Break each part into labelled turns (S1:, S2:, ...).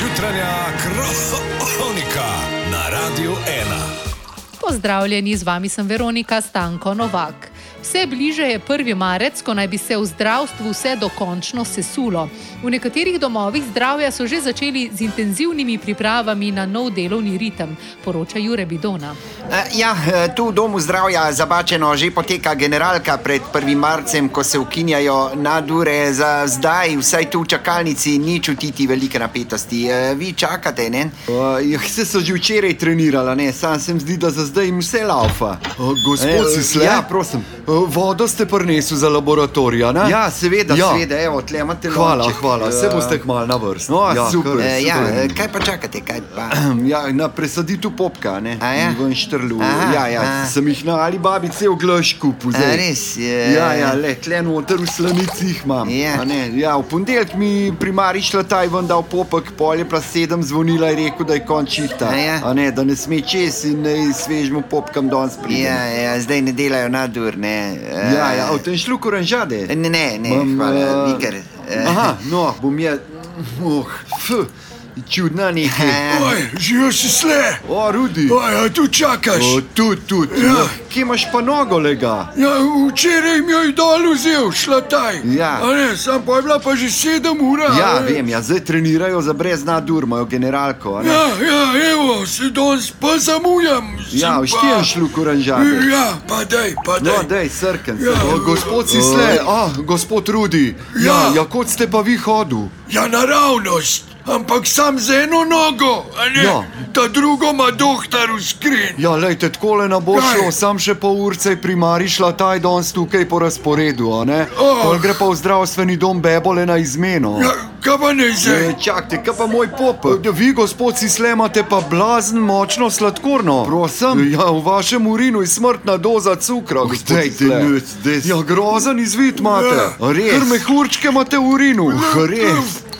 S1: Jutranja kronika na Radiu 1.
S2: Pozdravljeni, z vami sem Veronika Stanko Novak. Vse bliže je 1. marec, ko naj bi se v zdravstvu vse dokončno sesulo. V nekaterih domovih zdravja so že začeli z intenzivnimi pripravami na nov delovni ritem, poroča Jure Bidona.
S3: Eh, Ja, eh, tu v domu zdravja zabačeno že poteka generalka pred 1. marcem, ko se ukinjajo nadure. Za zdaj, vsaj tu v čakalnici, ni čutiti velike napetosti. Eh, Vi čakate, ne?
S4: Uh, Vse so že včeraj trenirala, ne? sam se mi zdi, da za zdaj jim vse laufa. Uh,
S3: gospod Sisle?
S4: Ja, prosim. Uh, vodo ste prinesli za laboratorij, ne?
S3: Ja, seveda, seveda, evo, tle imate
S4: Hvala,
S3: lonček.
S4: hvala, se
S3: Eh,
S4: boste kmalo na vrst.
S3: No,
S4: ja,
S3: super.
S4: kar,
S3: Eh, Ja,
S4: super.
S3: eh, kaj pa čakate, kaj pa?
S4: Ja, na presaditu popka, ne?
S3: A ja?
S4: Ven štrlu.
S3: Aha,
S4: ja, ja,
S3: aha.
S4: sem jih na ali babice v glašku
S3: A
S4: puzel.
S3: E, res, eh.
S4: Ja, ja, le, tle noter v slanici jih imam.
S3: Ja.
S4: A ne, ja, v ponedeljek mi primari šla ta in dal popek, pol je pa sedem zvonila in rekel, da je konč šihta.
S3: A ja?
S4: A ne, da ne sme čez in naj svežmu popkam danes pride.
S3: Ja, ja, zdaj ne delajo nadur, ne. Eh,
S4: ja, ja, a v tem šlu koranžade.
S3: Ne, ne, ne,
S4: Imam,
S3: hvala,
S4: eh,
S3: nikar. Eh,
S4: Aha, no, bom jaz. Oh, f, čudna nekaj.
S3: eh,
S1: Oj, živiš si sle!
S4: O, Rudi.
S1: Oj, a tu čakaš!
S4: O, tu, tu, tu.
S1: Ja.
S4: Ja. Kje imaš pa nogo, lega?
S1: Ja, včeraj mi je dol vzel, šla taj.
S4: Ja.
S1: A ne, sam pa je bila pa že sedem ura.
S4: Ja,
S1: a ne.
S4: vem, ja, zdaj trenirajo za brez nadur, imajo generalko. a ne?
S1: Ja, ja, evo, se danes pa zamujam. sem
S4: Ja,
S1: pa-
S4: v štijem šlu koranžade.
S1: Ja, pa daj, pa daj.
S4: No, dej, srken se.
S1: Ja.
S4: O, gospod Sisle, a, gospod Rudi.
S1: Ja.
S4: Ja, ja, kot ste pa vi hodil.
S1: Ja, naravnost, ampak sam z eno nogo, a ne?
S4: Ja.
S1: Ta drugo ima dohtar v skrin.
S4: Ja, lej, te takole ne bo
S1: Kaj?
S4: šlo, sam še pol urce primari šla taj danes tukaj po razporedu, a ne?
S1: Oh.
S4: Pol gre pa v zdravstveni dom Bebole na izmeno.
S1: Ja, kaj pa ne zdaj?
S4: E, Čakajte, kaj pa moj pop? Ja, vi, gospod, si slemate pa blazen, močno sladkorno. Prosim? Ja, v vašem urinu je smrtna doza cukra. Dajte, nec, des. Ja, grozen izvid imate.
S1: Ja.
S4: Res. Ker mehurčke imate v urinu.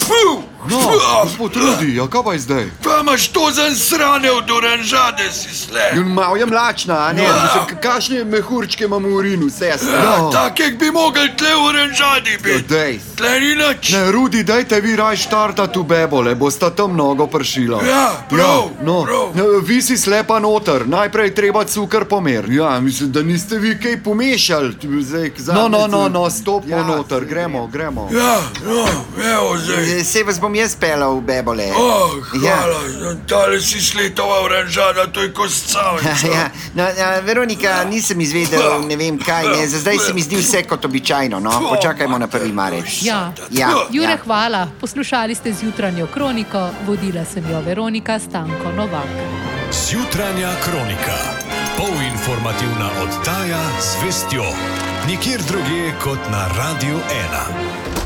S1: Fu,
S4: No,
S1: fu, a,
S4: gospod Rudi, ja, kaj pa je zdaj?
S1: Pa imaš to za srane od oranžade, si sle.
S4: Ja, Malo je mlačna, a ne?
S1: Ja.
S4: Mislim, k- Kakšne mehurčke imam v urinu, sestra?
S1: Ja, Takek bi mogel tle v oranžadi biti.
S4: Dej.
S1: Tle ni nič.
S4: Ne, Rudi, dajte vi raj štartati v bebole, bosta tam mnogo pršila.
S1: Ja, prav,
S4: no,
S1: prav.
S4: Ja, Vi si slepa noter, najprej je treba cukor pomeriti. Ja, mislim, da niste vi kaj pomešali. Zdaj, no, no, no, no, stopimo
S3: Ja,
S4: ja,
S3: saj
S4: noter, gremo, gremo.
S1: Ja, no, evo zdaj.
S3: eh, Se vas bom jaz pelal v Bebole.
S1: Oh,
S3: Ja.
S1: hvala, tale si sletova oranžada, to je kostcavica.
S3: Ja, no, ja, Veronika, nisem izvedel, ne vem kaj. Ne. Za zdaj se mi zdi vse kot običajno. No. Počakajmo na 1. marec.
S2: Ja.
S3: Ja,
S2: Jure,
S3: ja.
S2: hvala. Poslušali ste zjutranjo kroniko, vodila sem jo Veronika Stanko Novak.
S5: Jutranja kronika, polinformativna oddaja z vestjo. Nikjer drugje kot na Radiu 1.